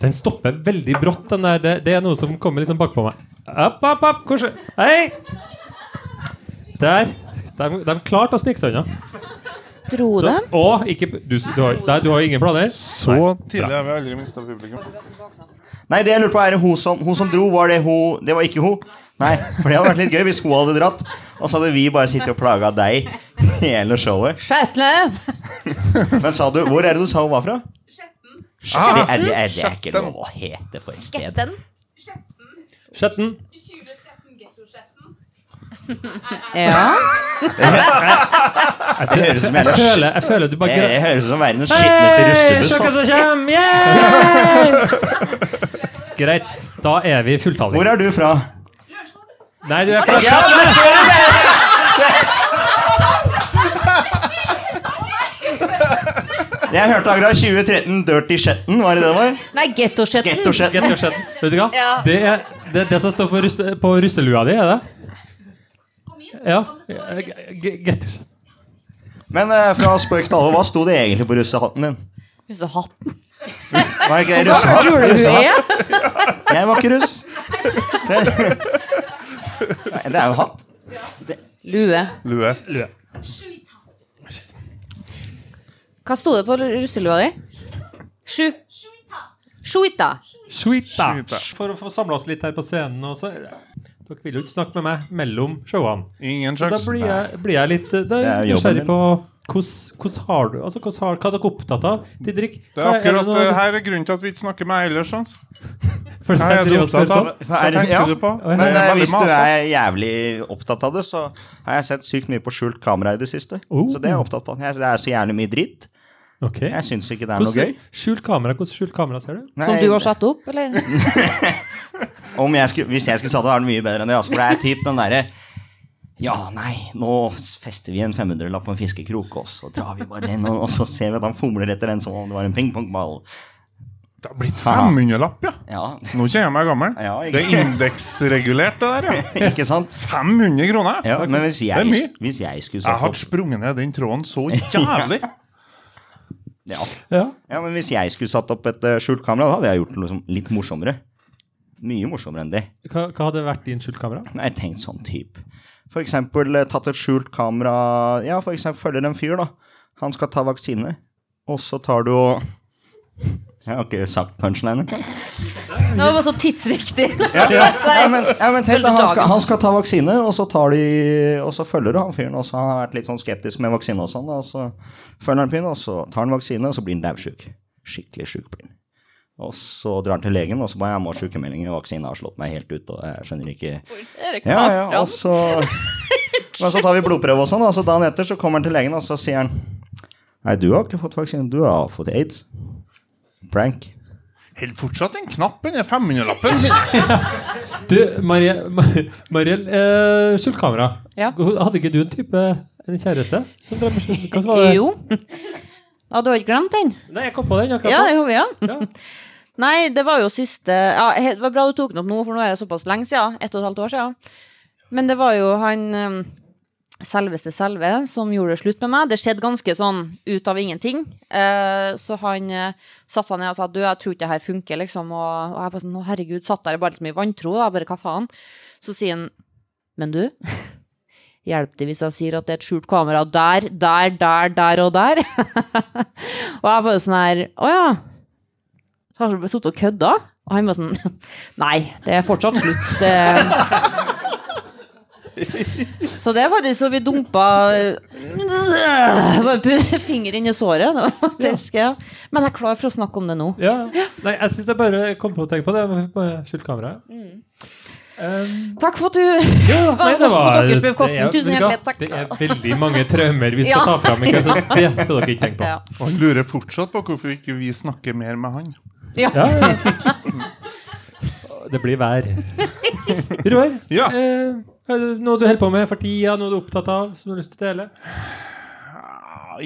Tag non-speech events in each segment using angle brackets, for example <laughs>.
Den stopper veldig brått. Den der, det, det er noe som kommer liksom bakpå meg. Opp, opp, opp, hvordan Hei! Der. De, de klarte å snike seg unna. Dro Du- dem? Å, ikke du, du, har, nei, du har ingen planer? Så tidlig er vi aldri mista publikum. Nei, det jeg lurer på er hun som, hun som dro, var det hun Det var ikke hun. Nei, for det hadde vært litt gøy hvis hun hadde dratt. Og så hadde vi bare sittet og plaga deg hele showet. Skjetle! Men sa du, hvor er det du sa hun var fra? Skjetten. Det er, det er, det er ikke Skjetten. lov å hete for et sted. Sketten. Skjetten. 2013 Getto-chatten. Ja. Det høres ut som Jeg jævla sk- føler, jeg føler du bare det grø- høres ut som verdens skitneste Hei, se russebuss. altså. hva ass. som kommer! Yeah! Greit. Da er vi fulltallige. Hvor er du fra? Nei, du er fra Ja, du ser det! Jeg hørte akkurat 2013 Dirty Shetten, var det det det var? Nei, gettosjetten. Getto Shetten. Get your shit. Vet du hva? Ja. Det er det, det som står på, russe, på russelua di, er det? Ja. G- g- Get your shit. Men eh, fra spøk til alvor, hva sto det egentlig på russehatten din? Så hatten. Var det ikke det russehatt? Tror du hun Russehatt? er? Jeg var ikke russ. Det, Nei, det er jo hatt. Lue. Lue. Lue. Hva sto det på russelua di? Sju. Sjuita. Sweeta. Sweeta. For å få samla oss litt her på scenen også. Dere vil jo ikke snakke med meg mellom showene. Ingen Så da sjans. blir jeg, blir jeg litt eh, Da Det er er jeg jobben nysgjerrig din. på hvordan- hvordan har du Altså, hvordan har, Hva er dere opptatt av, Didrik? Det er akkurat noe- eh, her er grunnen til at vi ikke snakker med ellers. Hans. For Hva jeg er du driver og spør opptatt av? sånn. Hva Er det- ja. tenker du på? Oi, Det Men er eh, veldig hvis du masete. er jævlig opptatt av det, så har jeg sett sykt mye på skjult kamera i det siste. Oh. Så det er jeg opptatt av. Jeg- Det er så jævlig mye dritt. Ok. Jeg syns ikke det er noe Hvordan, gøy. skjult kamera, hvordan skjult kamera ser du? Som Nei, du har satt opp, <laughs> eller? om jeg skulle, hvis jeg skulle satt det, er det mye bedre enn det. Altså, for det er typ den derre Ja, nei, nå fester vi en 500-lapp på en fiskekrok, og så drar vi bare inn, og og så ser vi at han fomler etter den som om det var en pingpongball. Det har blitt 500-lapp, ja. Ja, <laughs> Nå kjenner jeg meg gammel. Ja, jeg- Det er indeksregulert, det <laughs> der, ja. ikke sant? 500 kroner! Ja, men hvis Det er jeg, mye. hvis jeg skulle Jeg satt hadde opp sprunget ned den tråden så <laughs> jævlig. ja. Ja. ja, men hvis jeg skulle satt opp et eh, skjult kamera, da hadde jeg gjort det liksom litt morsommere. Mye morsommere enn det. Hva, hva hadde vært din skjult kamera? Nei, jeg tenkte sånn type. For eksempel eh, tatt et skjult kamera Ja, for eksempel følger en fyr, da. Han skal ta vaksine. Og så tar du og <laughs> Jeg har ikke sagt punchline engang. Det var bare så tidsriktig. <laughs> Ja, men, ja, men tenk, da, han, skal, dagens. han skal ta vaksine, og så, tar de, og så følger du han fyren. Og så har han vært litt sånn skeptisk med vaksine og sånn. da, Og så følger han fyren, og så tar han vaksine, og så blir han daudsjuk. Skikkelig sjuk blir han. Og så drar han til legen, og så bare 'Jeg må ha sykemelding, vaksinen har slått meg helt ut', og jeg skjønner ikke Ja, ja, og så Men så tar vi blodprøve og sånn, og så dagen etter så kommer han til legen, og så sier han Nei, du har ikke fått vaksine, du har fått aids. Prank. Held fortsatt en knapp under 500-lappen sin. Du, Mariel, Mariel eh, skjult kamera. Ja. Hadde ikke du en type en kjæreste? Som drev med skjult- Hva var det? Jo. Ja, du har ikke glemt den? Nei, jeg kom på den akkurat Ja, nå. jo, ja. Ja. <laughs> Nei, det var jo siste ja, he- Det var bra du tok den opp nå, for nå er det såpass lenge siden. Ett og et halvt år siden. Men det var jo han eh, selveste Selve som gjorde det slutt med meg. Det skjedde ganske sånn ut av ingenting. Eh, Så han eh, satte seg ned og sa du, jeg tror ikke det her funker, liksom. Og og jeg bare sånn, å herregud, satt der bare liksom i vantro, da. Bare hva faen? Så sier han, men du, <laughs> hjelper det hvis jeg sier at det er et skjult kamera der, der, der, der og der? og jeg bare sånn her, å ja. Så har han bare sittet og kødda. Og han bare sånn <laughs> Nei, det er fortsatt slutt. Det så det var det så vi dumpa Bare putte finger inn i såret. Det var faktisk, ja. Men jeg er klar for å snakke om det nå. Ja. Nei, jeg syns jeg bare kom på å tenke på det. med Skjult kamera. Mm. Um, Takk for at du ja, Bare godt på deres befolkning. det er- Tusen vet du hva? hjertelig takk. Det er veldig mange traumer vi skal Ja. ta fram. <laughs> Ikke? Så det skal dere ikke tenke på. Ja. Han lurer fortsatt på hvorfor ikke vi snakker mer med han. Ja, ja. Det blir vær. Roar, Ja. eh, er det noe du holder på med for tida, noe du er opptatt av, som du har lyst til å dele?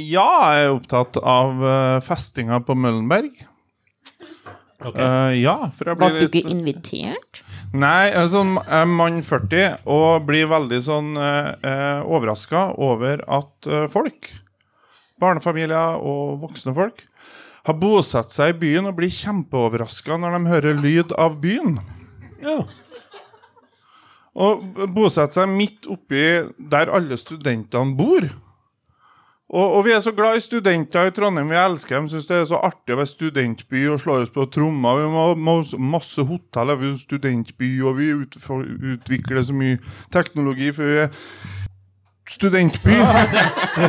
Ja, jeg er opptatt av eh, festinga på Møllenberg. Eh, ja, for jeg Var du blir ikke litt invitert? Nei, jeg er sånn jeg er mann 40 og blir veldig sånn uh, eh, overraska over at eh, folk, barnefamilier og voksne folk, har bosatt seg i byen og blir kjempeoverraska når de hører lyd av byen. Ja. Og b- bosette seg midt oppi der alle studentene bor. Og, og vi er så glad i studenter i Trondheim. Vi elsker dem. Syns det er så artig å være studentby og slå oss på tromma. Vi må må- masse hoteller, vi er en studentby, og vi utfor, utvikler så mye teknologi, for vi er studentby.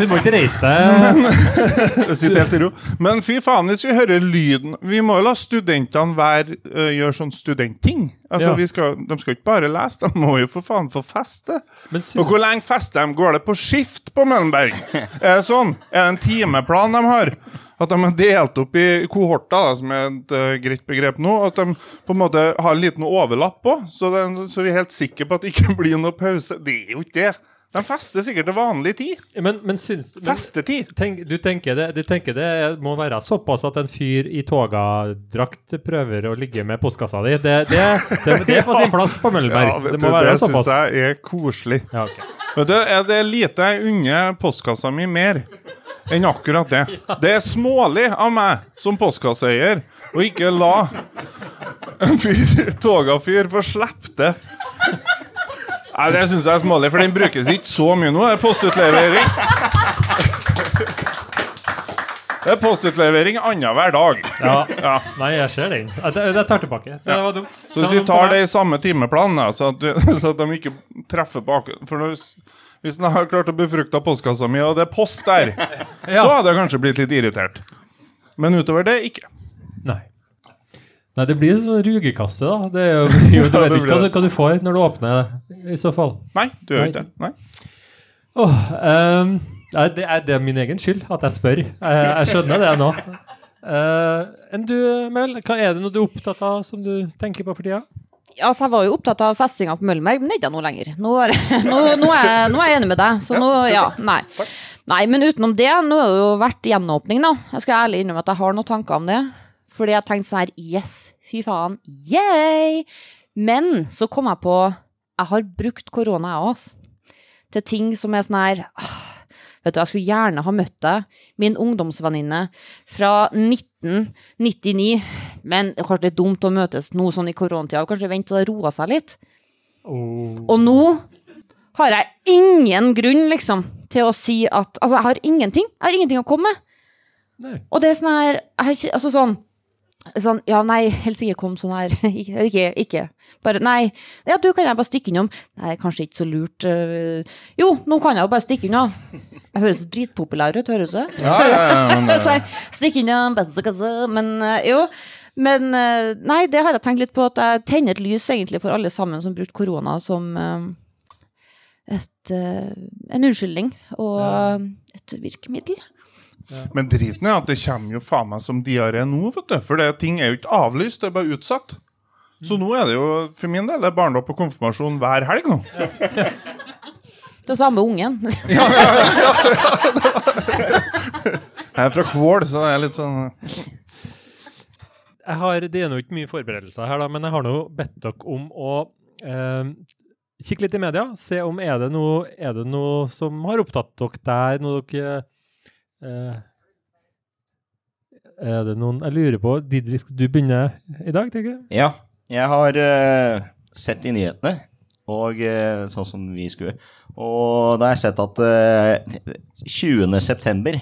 Du må ikke reise deg. Jeg sitter helt i ro. Men fy faen, hvis vi hører lyden Vi må jo la studentene være, øh, gjøre sånn studentting. Altså, Ja. vi skal, De skal ikke bare lese, de må jo for faen få feste. Men sy- Og hvor lenge fester de? Går det på skift på Møllenberg? Er det sånn? Er det en timeplan de har? At de er delt opp i kohorter, da, som er et øh, greit begrep nå. At de på en måte har en liten overlapp òg, så, det- så vi er helt sikre på at det ikke <laughs> blir noe pause. Det er jo ikke det. De fester sikkert til vanlig tid. Men, men syns men, Festetid. tenk, du, tenker det, du tenker det må være såpass at en fyr i togadrakt prøver å ligge med postkassa di. Det, det, det, det er på sin plass på Ja, Møllenberg. vet Det du, må det være syns såpass. jeg er koselig. Ja, ok. Vet du, er det lite jeg unner postkassa mi mer enn akkurat det. Det er smålig av meg som postkasseeier å ikke la en fyr, togafyr få slippe det. Nei, det syns jeg er smålig, for den brukes ikke så mye nå. Det er postutlevering. Det er postutlevering annenhver dag. Ja. Ja. Nei, jeg ser den. Ja, det- Jeg tar tilbake. Det var dumt. Så hvis vi tar det i samme timeplan, da, så, at du, <laughs> så at de ikke treffer på akkurat For når, hvis den har klart å befrukte postkassa mi, og det er post der, <laughs> så hadde jeg kanskje blitt litt irritert. Men utover det, ikke. Nei. Nei, det blir sånn rugekasse, da. Det er <laughs> jo, jo, du Ja, vet det ikke blir hva, du- det. hva du får når du åpner det, i så fall. Nei, du gjør Nei. ikke det. Nei. Åh, ehm, nei, det, er, det er min egen skyld at jeg spør. Jeg, jeg skjønner det nå. Eh, enn du, Mel, hva er det noe du er opptatt av som du tenker på for tida? Altså, jeg var jo opptatt av festinga på Møllenberg, men det er ikke jeg nå lenger. Nå er, <laughs> nå, nå, er, jeg- nå er jeg enig med deg. Så nå, ja, nei. nei. Men utenom det, nå har det jo vært gjenåpning, da. Jeg skal ærlig innrømme at jeg har noen tanker om det. Fordi jeg tenkte sånn her, yes, fy faen, yay! Men så kom jeg på, jeg har brukt korona jeg også, til ting som er sånn her, ah, vet du, jeg skulle gjerne ha møtt deg, min ungdomsvenninne fra 1999, men det er kanskje litt dumt å møtes nå sånn i koronatida, kanskje vente til det roer seg litt. Og nå har jeg ingen grunn, liksom, til å si at Altså, jeg har ingenting. Jeg har ingenting å komme med. Nei. Og det er sånn her jeg har ikke, Altså sånn Sånn, ja, nei, helst ikke kom sånn her. <laughs> Ikke, ikke, ikke. Bare, nei. Ja, du kan jeg bare stikke innom. Nei, kanskje ikke så lurt. øh. Jo, nå kan jeg jo bare stikke innom. Jeg høres dritpopulær ut, høres du? Ja, ja, ja, <laughs> men, <laughs> eh, Så jeg Stikk innom bensinkassa, men øh, jo. Men øh, nei, det har jeg tenkt litt på, at jeg tenner et lys egentlig for alle sammen som brukte korona som øh, et, øh, en unnskyldning og øh, et virkemiddel. men driten er at det kommer jo faen meg som diaré nå, vet du. For det, ting er jo ikke avlyst, det er bare utsatt. Så nå er det jo for min del det er barndom og konfirmasjon hver helg nå. Det samme ungen. <laughs> Jeg er fra Kvål, så det er litt sånn Jeg har, det er nå ikke mye forberedelser her, da, men jeg har nå bedt dere om å eh, kikke litt i media. Se om er det noe, er det noe som har opptatt dere der, noe dere eh, Er det noen Jeg lurer på Didrik, du begynner i dag, tenker jeg? Ja, jeg har eh, sett i nyhetene, og eh, sånn som vi skulle. Og da har jeg sett at eh, 20. september,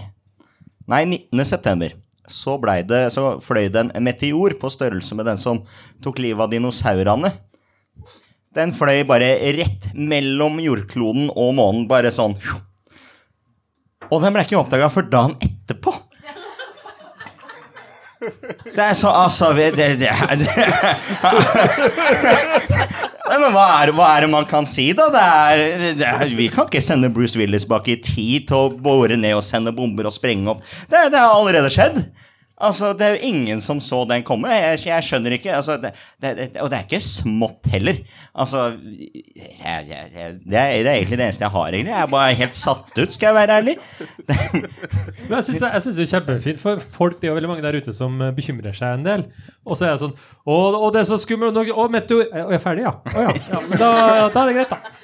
nei 19. september, så, ble det, så fløy det en meteor på størrelse med den som tok livet av dinosaurene. Den fløy bare rett mellom jordkloden og månen, bare sånn. Og den ble ikke oppdaga før dagen etterpå. Det er så Altså vi- det, det, det. Nei, men hva er, hva er det man kan si, da? Det er, det er, vi kan ikke sende Bruce Willis bak i tid til å bore ned og sende bomber og sprenge opp. Det, det har allerede skjedd. Altså, Det er jo ingen som så den komme. Jeg, jeg skjønner ikke. altså, det, det, det, Og det er ikke smått heller. Altså jeg, jeg, jeg, det, er, det er egentlig det eneste jeg har. egentlig. Jeg er bare helt satt ut, skal jeg være ærlig. Men jeg syns det, jeg synes det er kjempefint, for folk, det er jo veldig mange der ute som eh, bekymrer seg en del. Og så er jeg sånn Å, å det er så skummelt! Å, å, meteor! Å, jeg er ferdig, ja. Å, ja. ja men da, da er det greit, da.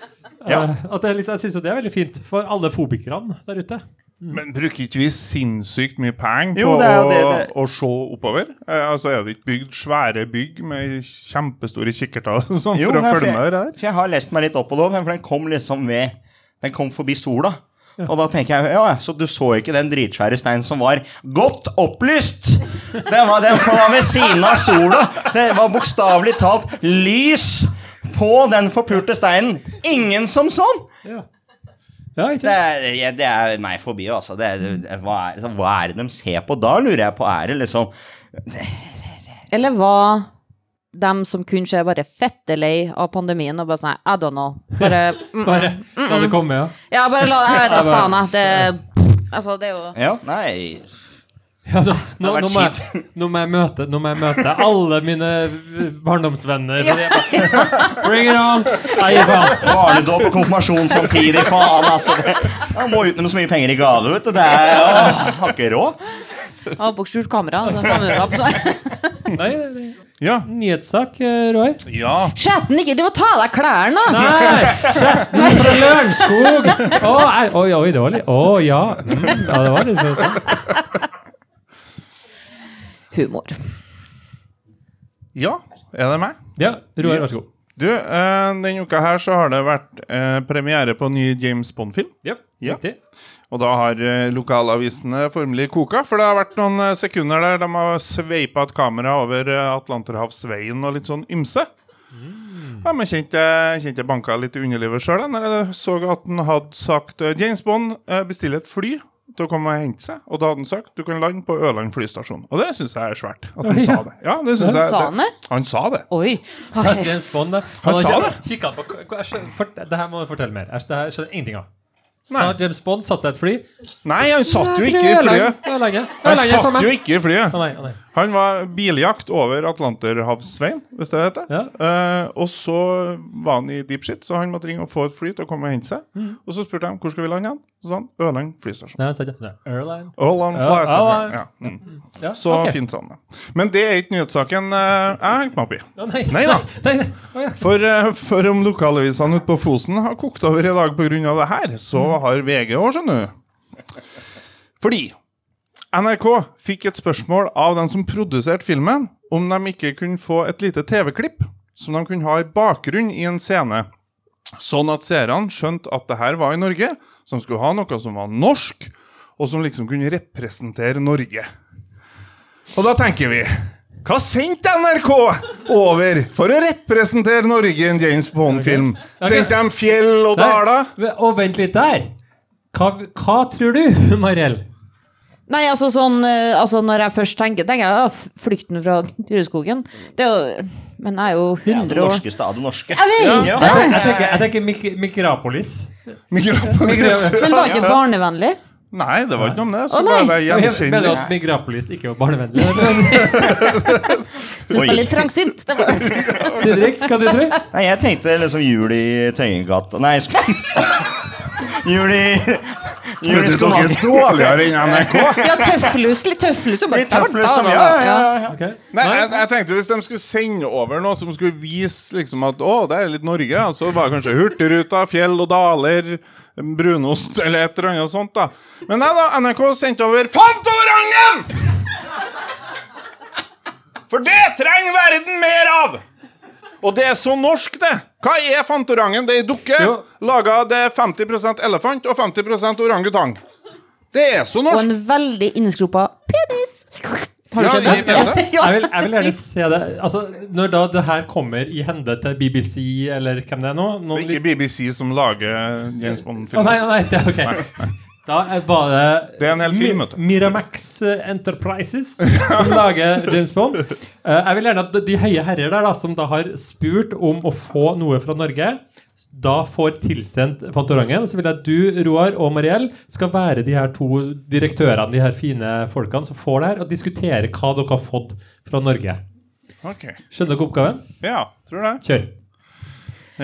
Ja. Eh, At det er litt, jeg syns jo det er veldig fint for alle fobikerne der ute. Men bruker ikke vi sinnssykt mye penger på Jo, det er jo å, det- det- å se oppover? Eh, altså Er det ikke bygd svære bygg med kjempestore kikkerter og <laughs> sånn Jo, for å nei, følge med jeg, i det her? for jeg har lest meg litt opp på det, for den kom liksom ved Den kom forbi sola. Og da tenker jeg ja, ja, så du så ikke den dritsvære steinen som var godt opplyst? Den var, den var ved siden av sola. Det var bokstavelig talt lys på den forpurte steinen. Ingen som sånn! Ja, ja ikke Det sant? er, ja, det er meg forbi, altså. Det er, det- hva, er, liksom, hva er det de ser på da, lurer jeg på. Er det liksom Eller var dem som kun ser bare fettelei av pandemien og bare sånn I don't know. Bare, mm, Bare la det komme, ja. ja, bare la Jeg vet da faen, jeg. Det, altså, det er jo Ja, nei Ja, nå, nå, vært nå, må jeg, nå, må jeg møte, nå må jeg møte alle mine eh, barndomsvenner. fordi jeg bare, <laughs> Bring it on! Nei, <laughs> faen. Barnedåp og konfirmasjon samtidig, faen altså. Det, man må ut med så mye penger i gave, vet du. Det er åh, har ikke råd. Jeg har på skjult kamera. Så faen gjør jeg på sånn. <laughs> Nei, det- det- Ja. nyhetssak, eh, Roar. ja. Skjeten ikke! Du må ta av deg klærne, da! Nei! Skjetten fra Lørenskog! Å, nei, oi, oi, det var litt Å, ja. Mm, ja, det var litt sånn. Humor. Ja, er det meg? Ja, Roar, vær så god. Du, eh, denne uka her så har det vært eh, premiere på en ny James Bond-film. Ja, Ja. riktig. Og da har eh, lokalavisene formelig koka, for det har vært noen eh, sekunder der de har sveipa et kamera over eh, Atlanterhavsveien og litt sånn ymse. Ja, men kjente, kjente jeg banka litt i underlivet sjøl da jeg så at han hadde sagt eh, James Bond eh, bestiller et fly til å komme og hente seg. Og da hadde han sagt du kan lande på Ørland flystasjon. Og det syns jeg er svært. At han Ja. sa det. Ja, det synes jeg, Sa han det? Han sa det. Oi. Sa James Bond det. Han Han har sa ikke- kikket på k- jeg skjønner- fort- Det her må du fortelle mer. Jeg- Det her skjønner jeg ingenting av. Sa Nei. James Bond satte seg i et fly. Nei, han satt jo ikke i flyet. Det er lenge. Det er Han lenge for satt meg. jo ikke i flyet. Å, nei, å, nei. Han var biljakt over Atlanterhavsveien, hvis det heter. Ja. Eh, og så var han i deep shit, så han måtte ringe og få et fly til å komme og hente seg. Mm. Og så spurte jeg hvor skal vi lande igjen. Så sa han Ørland flystasjon. Nei, han sa ikke det. Airline. Ørland Ja, flystasjon. Ørland. Ja. Mm. Ja, Så ok. fint sa han det. Men det er ikke nyhetssaken eh, jeg hengte meg opp i. Å, nei. Nei da. Nei, nei. Å, ja. For, eh, for om lokalavisene ute på Fosen har kokt over i dag pga. det her, så Mm. har VG òg, skjønner du. Fordi NRK fikk et spørsmål av den som produserte filmen, om de ikke kunne få et lite TV-klipp som de kunne ha i bakgrunnen i en scene. Sånn at seerne skjønte at det her var i Norge, som skulle ha noe som var norsk, og som liksom kunne representere Norge. Og da tenker vi Hva sendte NRK over for å representere Norge i en James Bond-film? Sendte de fjell og Nei. daler? Men- Å, vent litt der. Hva, hva tror du, Mariell? Nei, altså sånn eh, altså, Når jeg først tenker, tenker jeg ja, f- flukten fra dyreskogen. Det er jo Men jeg er jo Ja, det 100 år norskeste av det norske. Jeg vet Ja. Jeg tenker, jeg tenker, jeg tenker Mik Mikrapolis. <laughs> Mikropolis. Men det var ikke barnevennlig? Nei, det var ikke noe om det. Jeg Å, skulle nei. bare Mener være du gjenkjennelig. at Migrapolis ikke var barnevennlig? Syns det Oi. var litt trangsynt. Det var <laughs> Didrik, hva du tror du? Nei, jeg tenkte liksom jul i Tøyengata Nei, sk <laughs> jul i Jul i Vet du, dere er Skomager. dårligere enn NRK. Ja, tøflus. Litt tøflus. og bare- Litt tøffere som ja, ja, ja. Ok. Nei, jeg, jeg tenkte Hvis de skulle sende over noe som skulle vise liksom at å, det er litt Norge, ja, så var det kanskje Hurtigruta, fjell og daler, brunost eller et eller annet sånt. da Men nei da, NRK sendte over Fantorangen! For det trenger verden mer av! Og det er så norsk, det! Hva er Fantorangen? Det er ei dukke Jo. laga det er 50 elefant og 50 orangutang. Det er så Og norsk! en veldig innsgropa penis. Har du Ja, i sett det? fjeset. Ja. jeg vil, jeg vil gjerne se det altså, Når da det her kommer i hende til BBC eller hvem det er nå Det noen er ikke litt- BBC som lager James Å, nei, Bond-filmer. å, nei, det, ok Da er bare Det er en hel film, vet du. Miramax eh, Enterprises som lager James Bond. Eh, jeg vil gjerne at de høye herrer der da som da har spurt om å få noe fra Norge, da får tilsendt Fantorangen. Så vil jeg at du, Roar og Mariell, skal være de her to direktørene, de her fine folkene som får det her, og diskutere hva dere har fått fra Norge. Ok. Skjønner dere oppgaven? Ja, tror det. Kjør.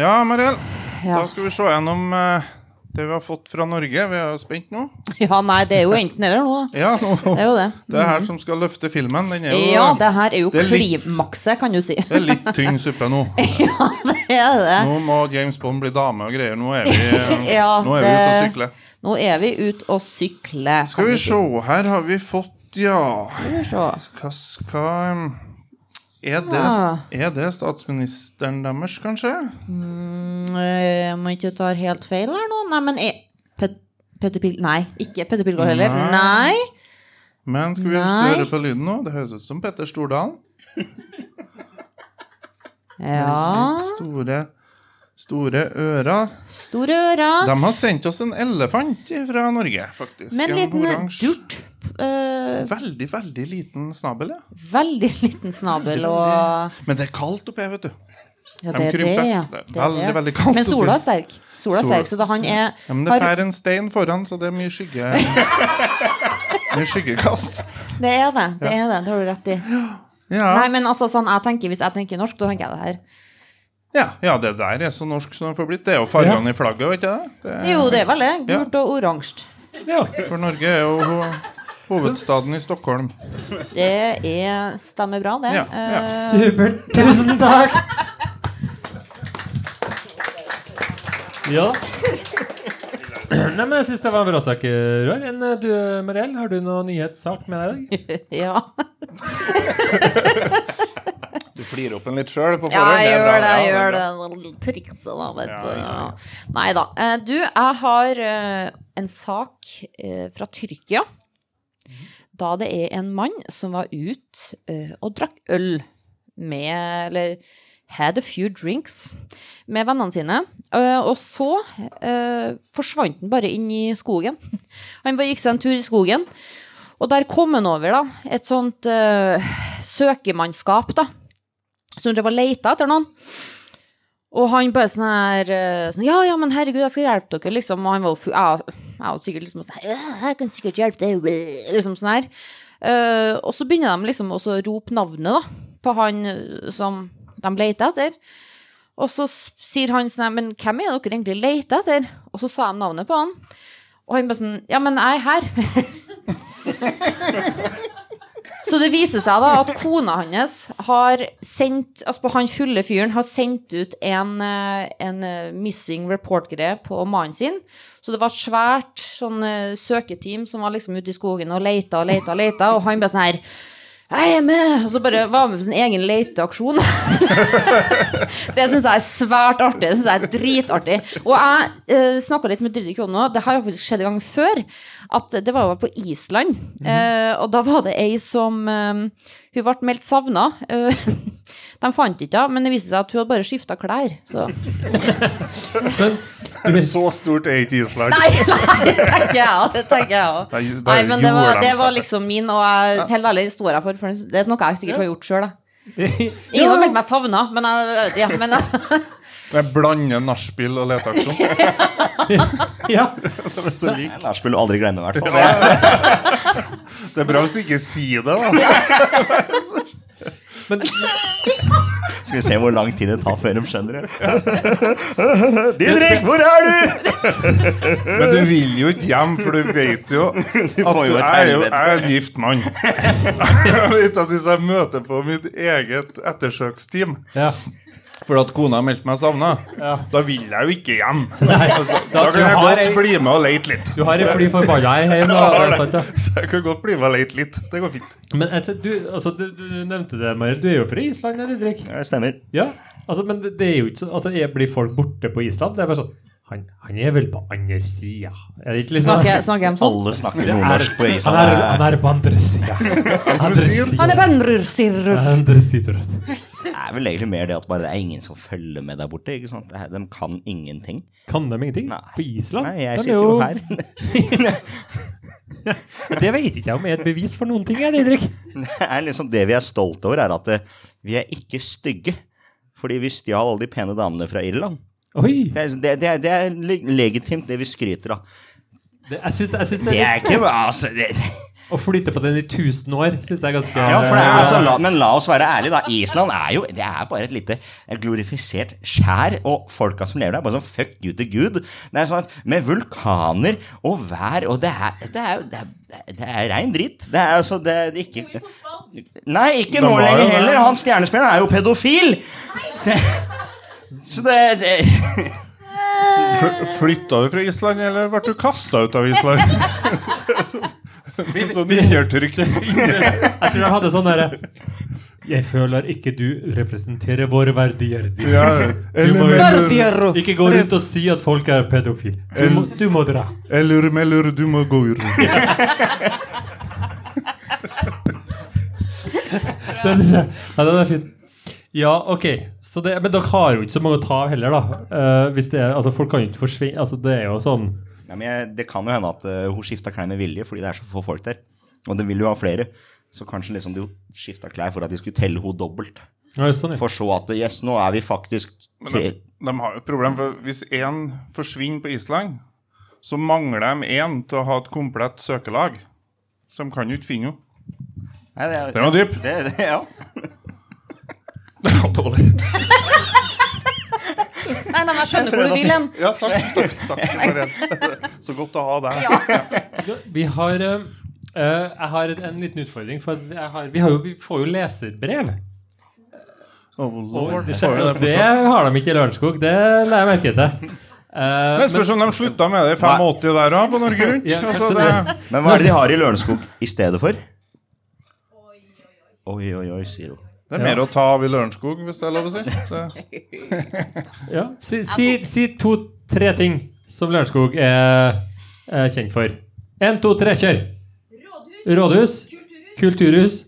Ja, Mariell. Ja. Da skal vi se gjennom eh, Det vi har fått fra Norge. Vi er jo spent nå. <laughs> Ja, nei, det er jo enten eller nå. Ja, nå. <laughs> Det er jo det. Det er her som skal løfte filmen. Den er jo Ja, det her er jo Det er litt- klimakset, kan du si. <laughs> det er litt tynn suppe nå. Det er det. Nå må James Bond bli dame og greier. Nå er vi, <laughs> Ja, nå er vi ute og det- sykler. Nå er vi ute og sykler. Skal vi se, her har vi fått Ja, Skal vi se. hva skal er det, Ja. er det statsministeren deres, kanskje? Eh, Om jeg ikke tar helt feil her nå Nei, men er Pet- Petter Pil... Nei, ikke Petter Pilgaard heller. Nei. Men skal vi Nei. høre på lyden nå? Det høres ut som Petter Stordalen. Ja. Store, store ører. Store ører. De har sendt oss en elefant fra Norge, faktisk. Med en liten oransje- durt. eh, Veldig, veldig liten snabel, ja. veldig <laughs> liten snabel og Men det er kaldt oppe her, vet du. ja, De krymper. ja. Det er er veldig, veldig kaldt Men sola oppi. er sterk. Sola er Sol- sterk, så da han er Ja, men det har, fer en stein foran, så det er mye skygge <laughs> Mye skyggekast. Det er det. Det er det, det har du rett i. Nei, Ja. men altså sånn, jeg tenker, Hvis jeg tenker norsk, da tenker jeg det her. Ja, ja, det der er så norsk som det får blitt. Det er jo fargene i flagget, vet du det? det? er- Jo, det er vel det. Ja. Gult og oransje. Ja. For Norge er jo ho- hovedstaden i Stockholm. Det er, stemmer bra, det. Ja, Eh, Supert. Tusen takk. Ja. Nei, men jeg syns det var en bra sak, Roar. Enn eh, du, Mariell, har du noen nyhetssak med deg i dag? <laughs> ja. <laughs> Du flirer opp en litt sjøl på ja, jeg bra, gjør det. Jeg ja, gjør det det. er Noen Trikset, da, vet du. Ja, ja, ja. Nei da. Eh, Du, jeg har eh, en sak eh, fra Tyrkia. Da det er en mann som var ute eh, og drakk øl med Eller had a few drinks med vennene sine. Eh, Og så eh, forsvant han bare inn i skogen. Han bare gikk seg en tur i skogen. Og der kom han over da, et sånt eh, søkemannskap, da som drev og leita etter noen. Og han bare sånn her eh, sånn, Ja, ja, men herregud, jeg skal hjelpe dere, liksom. Og han var jo fu- jeg, jeg var sikkert liksom sånn «Ja, Jeg kan sikkert hjelpe deg, bleh», liksom sånn her. Eh, og så begynner de liksom også å rope navnet, da, på han eh, som de leter etter. Og så s- sier han sånn her, Men hvem er dere egentlig leter etter? Og så sa de navnet på han. Og han bare sånn Ja, men jeg er her. Så det viser seg da at kona hans har sendt Altså han fulle fyren har sendt ut en, eh, en eh, missing report-greie på mannen sin. Så det var et svært sånn eh, søketeam som var liksom ute i skogen og leita og leita og leita, og han bare sånn her jeg er med! Og så bare var med på sin egen leteaksjon. <laughs> det syns jeg er svært artig. Det synes jeg er dritartig. Og jeg eh, snakka litt med Didrik om nå, det har jo faktisk skjedd en gang før, at det var jo på Island. Eh, og da var det ei som eh, Hun ble meldt savna. Eh, <laughs> de fant ikke henne, men det viste seg at hun hadde bare skifta klær. Så <laughs> Så stort er ikke Island. Nei, nei, det tenker jeg òg. Det tenker jeg også. Nei, bare Nei, men det gjorde var, de det var seg. liksom min, og jeg, helt ærlig, det står jeg for. for Det er noe jeg sikkert har gjort sjøl, da. Ingen har meldt meg savna, men jeg, ja, men Jeg blander nachspiel og leteaksjon. <laughs> Det Ja. er så lik. Nachspiel aldri glemme, i hvert fall. Det Det er bra hvis du ikke sier det, da. Men Skal vi se hvor lang tid det tar før de skjønner det. Didrik, hvor er du? Men du vil jo ikke hjem, for du vet jo at du får jo et jeg er jo helvete. jeg er en gift mann. Jeg vet at hvis jeg møter på mitt eget ettersøksteam ja. For at kona har meldt meg savna, Ja. da vil jeg jo ikke hjem. Altså, da, Da- du kan jeg har godt ei- bli med og leite litt. Du har en fly forbanna ei hjem, da. Det er sant, ja. Så jeg kan godt bli med og leite litt. Det går fint. Men jeg tror- du, altså, du, du nevnte det, Mariell. Du er jo fra Island, ja, Didrik? Det stemmer. Ja. Altså, men det, det er jo ikke sånn altså, jeg Blir folk borte på Island? Det er bare sånn Han, han er vel på andre sida? Er det ikke liksom snakker, snakker jeg om sånn? Alle snakker nordnorsk på Han er, Island. han er på andre sida. Andre sier- sida. Han er bandrur, sier du. Andre sider. Det er vel egentlig mer det at bare det er ingen som følger med der borte. ikke sant? Det er- De kan ingenting. Kan de ingenting? Nei. På Island? Nei, jeg De sitter er jo her. <laughs> <laughs> Det vet ikke jeg om er et bevis for noen ting, jeg, Didrik. Det er liksom det vi er stolte over, er at eh, vi er ikke stygge. Fordi vi stjal alle de pene damene fra Irland. Oi! Det er, det, det er, det er le- legitimt, det vi skryter av. Det, jeg syns det, jeg synes det Det er er litt ikke bra, altså. Det, Å flytte på den i 1000 år syns jeg er ganske ja, for det er, altså, la, Eh, men la oss være ærlige, da. Island er jo det er bare et lite et glorifisert skjær, og folka som lever der, er bare sånn fuck you to Gud. Det er sånn at Med vulkaner og vær og Det er, det er, det er, det er rein dritt. Det er altså det, det er ikke Nei, ikke Den nå var jo lenger det. heller. Han stjernespilleren er jo pedofil! Det, så det, det Fl- Flytta du fra Island, eller ble du kasta ut av Island? Det er sånn- Sånn sånn undertrykt <laughs> sinne. Jeg tror jeg hadde sånn derre Jeg føler ikke du representerer våre verdier. Du Ja, må eller, jo eller, ikke gå rundt og si at folk er pedofile. Du, må- du må dra. eller melder du må gå ut. Det synes jeg- Ja, den er fin. Ja, ok. Så det, men dere har jo ikke så mange å ta av heller, da. Eh, hvis det er, altså, folk kan jo ikke forsvinne altså, Det er jo sånn Ja, men jeg, Det kan jo hende at eh, hun skifta klær med vilje fordi det er så få folk der. Og det vil jo ha flere. Så kanskje liksom de skifta klær for at de skulle telle henne dobbelt. ja, sånn, ja. For så at yes, nå er vi faktisk Men tre de, de har jo et problem, for hvis én forsvinner på Island, så mangler de én til å ha et komplett søkelag. Så de kan jo ikke finne henne. Nei, det, er- Den var <laughs> dyp. det, det, ja. Dårlig. Nei, nei, men jeg skjønner hvor du vil hen. Ja, takk. <laughs> takk, takk Marianne. Så godt å ha deg. Vi har eh, eh, Jeg har et- en liten utfordring, for at jeg har, vi, har jo, vi får jo leserbrev. Oh, lord. Det, Får vi det det fortsatt? har de ikke i Lørenskog. Det la jeg merke til. Eh, Det spørs om de slutta med det i 85 der òg, på Norge Rundt. Ja, Altså, kanskje det, Men hva er det de har i Lørenskog i stedet for? Oi, oi, oi, sier hun. det er mer å ta av i Lørenskog, hvis det er lov å si. Det, Ja, si, si, si to-tre ting som Lørenskog er, er kjent for. Én, to, tre, kjør! Rådhus, Rådhus, kulturhus, kulturhus,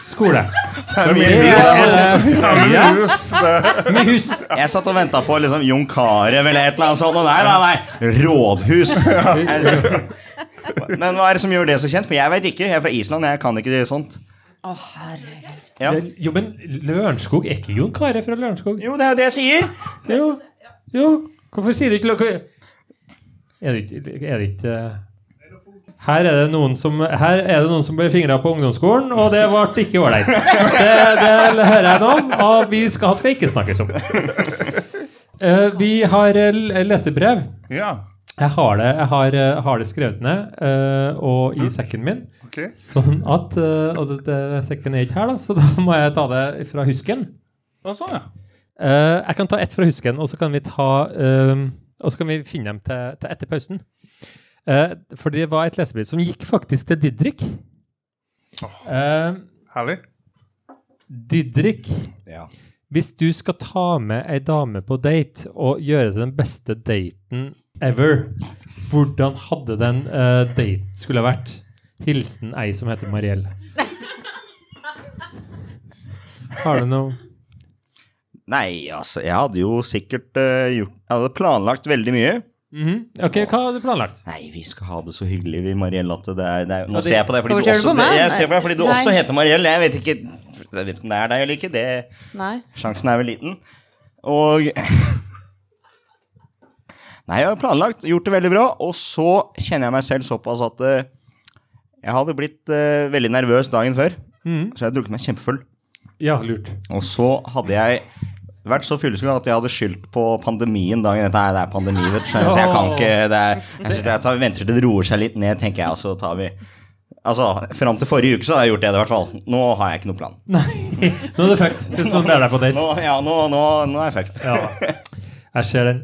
skole. Så er det mye Ja, hus. eh, ja, Hus, det. med hus. Jeg satt og venta på liksom Jon Carew eller et eller annet sånt. Og nei, nei, nei. Rådhus. <laughs> Men hva er det som gjør det så kjent? For jeg veit ikke. Jeg er fra Island, jeg kan ikke det sånt. Å, herre. Ja. Jo, men Lørenskog er ikke Jon Carew fra Lørenskog? Jo, det er jo det jeg sier. Jo. jo. Hvorfor sier du ikke Lø- hva- Er det ikke, er det ikke eh, her er, det noen som, her er det noen som ble fingra på ungdomsskolen, og det ble ikke ålreit. Det, det hører jeg nå om, og vi skal, han skal ikke snakkes om. Eh, vi har eh, l- lesebrev. Ja, Jeg har det, jeg har, eh, har det skrevet ned eh, og i sekken min. ok. Sånn at, eh, Og det, det, sekken er ikke her, da, så da må jeg ta det fra husken. Og sånn, ja. Eh, jeg kan ta ett fra husken, og så kan vi ta eh, Og så kan vi finne dem til, til etter pausen. Eh, for det var et lesebriv som gikk faktisk til Didrik. Eh, Herlig. Didrik, Ja. hvis du skal ta med ei dame på date og gjøre det til den beste daten ever, hvordan hadde den eh, date skulle ha vært? Hilsen ei som heter Mariell. Har du noe Nei, altså, jeg hadde jo sikkert eh, gjort Jeg hadde planlagt veldig mye. Mhm. Ok, hva hadde du planlagt? Nei, vi skal ha det så hyggelig, vi, Mariell, at det er, det er Nå det- ser jeg på deg fordi Hvorfor du ser du på også, meg? jeg ser på deg fordi du Nei. også heter Mariell. Jeg vet ikke Jeg vet ikke om det er deg eller ikke. Det, Nei. sjansen er vel liten. Og Nei, jeg har planlagt, gjort det veldig bra, og så kjenner jeg meg selv såpass at eh, jeg hadde blitt eh, veldig nervøs dagen før, Mhm. så jeg hadde drukket meg kjempefull. Ja, lurt. Og så hadde jeg vært så fyllesyk at jeg hadde skyldt på pandemien dagen etter. Nei, det er pandemi, vet du. skjønner du, Så jeg kan ikke det er, Jeg synes jeg tar, venter til det roer seg litt ned, tenker jeg, og så tar vi Altså, fram til forrige uke så hadde jeg gjort det, i hvert fall. Nå har jeg ikke noen plan. Nei, nå er det fucked. Hvis noen ber deg på date. Nå, ja, nå, nå, nå er jeg fucked. Ja, jeg ser den.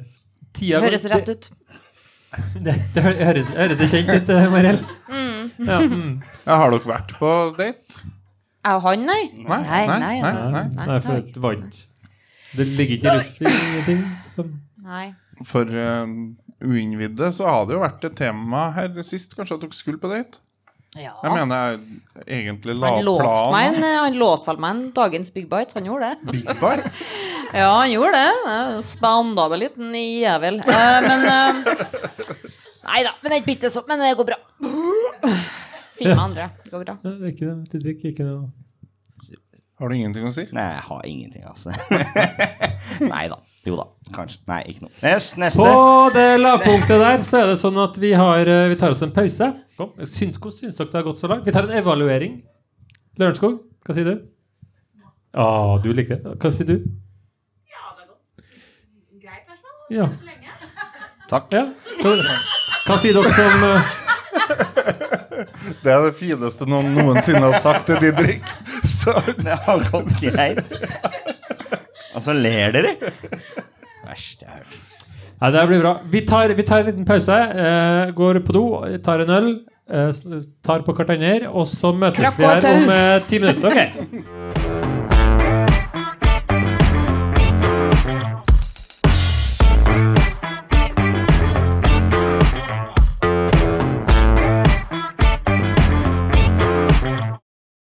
Tida går- Høres rett ut. Det, det, hø- høres, høres det kjent ut, eh, Mariell? Ja, mm. Ja, har dere vært på date? Jeg og han, nei? Nei, nei, altså. nei, nei. Nei, for det var ikke Det ligger ikke i luften ingenting som Nei. For eh, uinnvidde så har det jo vært et tema her sist, kanskje, at dere skulle på date. Ja. Jeg mener jeg egentlig la Han lovte meg planen. en, han lovte vel meg en dagens Big Bite. Han gjorde det. Big Bite. Ja, han gjorde det. Spandabel liten jævel. Eh, men <laughs> eh, Nei da, men det er ikke bitte sånn. Men det går bra. Finn meg andre. Det går bra. Nei, det er ikke noe, det er ikke noe. Har Har du ingenting å si? Nei, jeg har ingenting, altså. <laughs> Nei da. Jo da, kanskje. Nei, ikke noe. Yes, neste. På det lavpunktet der så er det sånn at vi, har, eh, vi tar oss en pause. Kom. Syns, hvordan syns dere det har gått så langt? Vi tar en evaluering. Lørenskog, hva sier du? Å, du liker det. Hva sier du? Ja, det er godt. Greit, i hvert fall. Ja. Så lenge. <laughs> Takk. ja. Så, hva sier dere som eh, Det er det fineste noen noensinne har sagt til Didrik. Så Det har gått greit. Og så ler dere. Verst jeg har hørt. Ja, det her blir bra. Vi tar, vi tar en liten pause. Eh, går på do, tar en øl, eh, s- tar på hverandre, og så møtes Krakk vi og her tau. om eh, ti minutter. Ok.